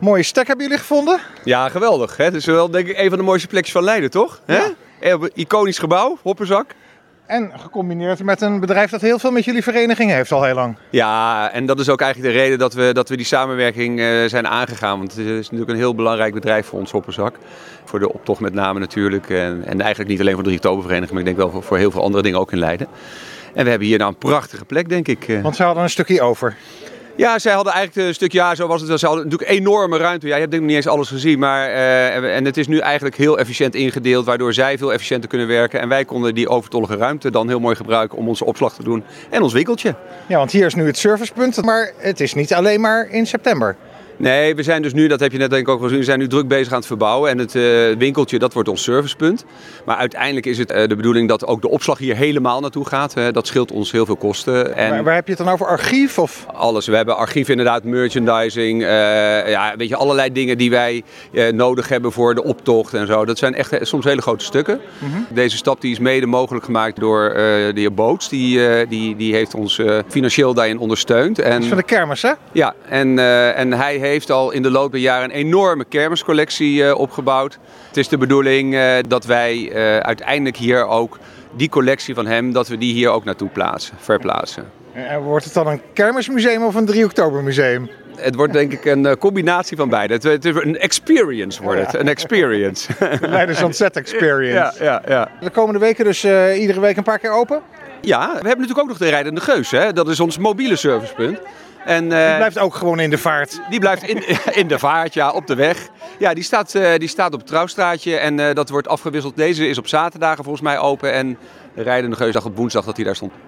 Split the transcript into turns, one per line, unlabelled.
Mooie stek hebben jullie gevonden.
Ja, geweldig. Hè? Het is wel denk ik een van de mooiste plekjes van Leiden, toch? Hè? Eh,
Ja.
Een Iconisch gebouw, Hopperzak.
En gecombineerd met een bedrijf dat heel veel met jullie vereniging heeft al heel lang.
Ja, en dat is ook eigenlijk de reden dat we, dat we die samenwerking eh, zijn aangegaan. Want het is natuurlijk een heel belangrijk bedrijf voor ons Hopperzak. Voor de optocht met name natuurlijk. En, en eigenlijk niet alleen voor de Riektobervereniging, maar ik denk wel voor, voor heel veel andere dingen ook in Leiden. En we hebben hier nou een prachtige plek, denk ik. eh.
Want ze hadden een stukje over.
Ja, zij hadden eigenlijk eh, een stuk, ja, zo was het wel. Ze hadden natuurlijk enorme ruimte. Ja, je hebt denk ik niet eens alles gezien. Maar, eh, en het is nu eigenlijk heel efficiënt ingedeeld, waardoor zij veel efficiënter kunnen werken. En wij konden die overtollige ruimte dan heel mooi gebruiken om onze opslag te doen en ons winkeltje.
Ja, want hier is nu het servicepunt, maar het is niet alleen maar in september.
Nee, we zijn dus nu, dat heb je net denk ik ook gezien, we zijn nu druk bezig aan het verbouwen. En het eh, winkeltje, dat wordt ons servicepunt. Maar uiteindelijk is het eh, de bedoeling dat ook de opslag hier helemaal naartoe gaat. Eh, dat scheelt ons heel veel kosten. En...
Waar, waar heb je het dan over? Archief of?
Alles. We hebben archief inderdaad, merchandising, eh, ja, weet je, allerlei dingen die wij eh, nodig hebben voor de optocht en zo. Dat zijn echt eh, soms hele grote stukken. Deze stap die is mede mogelijk gemaakt door eh, de heer Boots. Die, eh, die, die heeft ons eh, financieel daarin ondersteund. En,
Dat is van de kermis, hè?
ja, en, eh, en hij heeft al in de loop der jaren een enorme kermiscollectie eh, opgebouwd. Het is de bedoeling eh, dat wij eh, uiteindelijk hier ook die collectie van hem, dat we die hier ook naartoe plaatsen, verplaatsen.
En Eh, wordt het dan een kermismuseum of een 3 oktober museum?
Het wordt denk ik een eh, combinatie van beide. Het, het is een experience wordt het. Een experience.
Leiders Z Experience.
ja, ja, ja.
De komende weken dus eh, iedere week een paar keer open.
ja, we hebben natuurlijk ook nog de rijdende geus. Hè? Dat is ons mobiele servicepunt. En, eh,
Het blijft ook gewoon in de vaart.
die blijft in, in de vaart, ja, op de weg. Ja, die staat, eh, die staat op het Trouwstraatje en eh, dat wordt afgewisseld. Deze is op zaterdagen volgens mij open en de rijdende geusdag op woensdag dat hij daar stond.